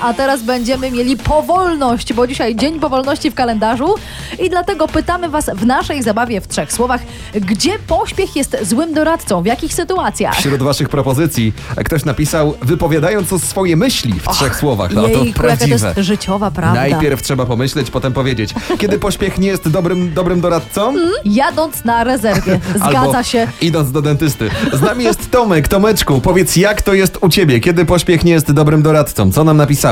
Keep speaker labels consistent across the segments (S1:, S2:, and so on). S1: a teraz będziemy mieli powolność, bo dzisiaj dzień powolności w kalendarzu i dlatego pytamy Was w naszej zabawie w trzech słowach, gdzie pośpiech jest złym doradcą, w jakich sytuacjach?
S2: Wśród waszych propozycji ktoś napisał, wypowiadając swoje myśli w trzech słowach. No to
S1: Jejku, jaka to jest
S2: prawdziwe.
S1: życiowa prawda.
S2: Najpierw trzeba pomyśleć, potem powiedzieć. Kiedy pośpiech nie jest dobrym, dobrym doradcą?
S1: Hmm? Jadąc na rezerwie, Mm, zgadza
S2: Albo
S1: się.
S2: Idąc do dentysty. Z nami jest Tomek. Tomeczku, powiedz, jak to jest u ciebie? Kiedy pośpiech nie jest dobrym doradcą? Co nam napisałeś?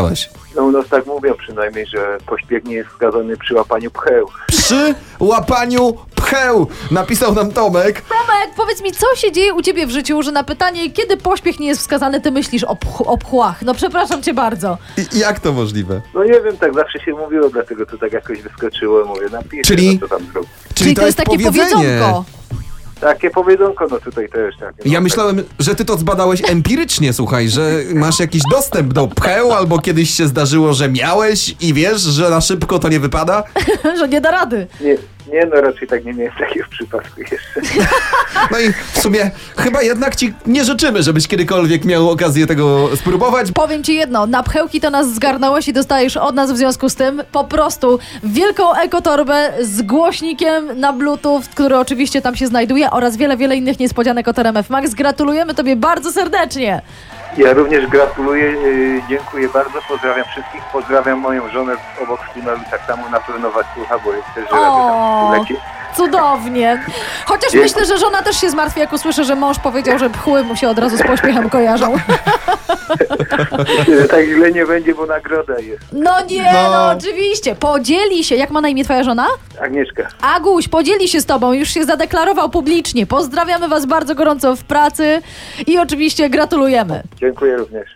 S3: No u nas tak mówią przynajmniej, że pośpiech nie jest wskazany przy łapaniu pcheł.
S2: Przy łapaniu pcheł! Napisał nam Tomek.
S1: Tomek, powiedz mi, co się dzieje u Ciebie w życiu, że na pytanie, kiedy pośpiech nie jest wskazany, Ty myślisz o, pch- o pchłach. No przepraszam Cię bardzo.
S2: I jak to możliwe?
S3: No nie wiem, tak zawsze się mówiło, dlatego to tak jakoś wyskoczyło, mówię, napiszę,
S2: Czyli-
S3: no co tam zrób.
S1: to, jest, takie powiedzonko.
S3: Takie powiedzonko, no tutaj też tak. No,
S2: Ja
S3: tak.
S2: myślałem, że ty to zbadałeś empirycznie, słuchaj, że masz jakiś dostęp do pcheł, albo kiedyś się zdarzyło, że miałeś i wiesz, że na szybko to nie wypada.
S1: że nie da rady.
S3: Nie, nie, no raczej tak nie miałem takiego przypadku jeszcze.
S2: No i w sumie chyba jednak ci nie życzymy, żebyś kiedykolwiek miał okazję tego spróbować.
S1: Powiem Ci jedno, na pchełki to nas zgarnąłeś i dostajesz od nas w związku z tym po prostu wielką ekotorbę z głośnikiem na bluetooth, który oczywiście tam się znajduje oraz wiele, wiele innych niespodzianek od RMF Max. Gratulujemy Tobie bardzo serdecznie.
S3: Ja również gratuluję, yy, dziękuję bardzo, pozdrawiam wszystkich, pozdrawiam moją żonę obok w tunelu, tak samo na pewno was słucha, bo jest też rady
S1: O.
S3: tam lecie.
S1: Cudownie. Chociaż
S3: Dzięki.
S1: myślę, że żona też się zmartwi, jak usłyszy, że mąż powiedział, że pchły mu się od razu z pośpiechem kojarzą.
S3: Tak źle nie będzie, bo nagroda jest.
S1: No nie, no,
S2: No.
S1: oczywiście. Podzieli się. Jak ma na imię twoja żona?
S3: Agnieszka.
S1: Aguś, podzieli się z tobą. Już się zadeklarował publicznie. Pozdrawiamy was bardzo gorąco w pracy i oczywiście gratulujemy.
S3: Dziękuję również.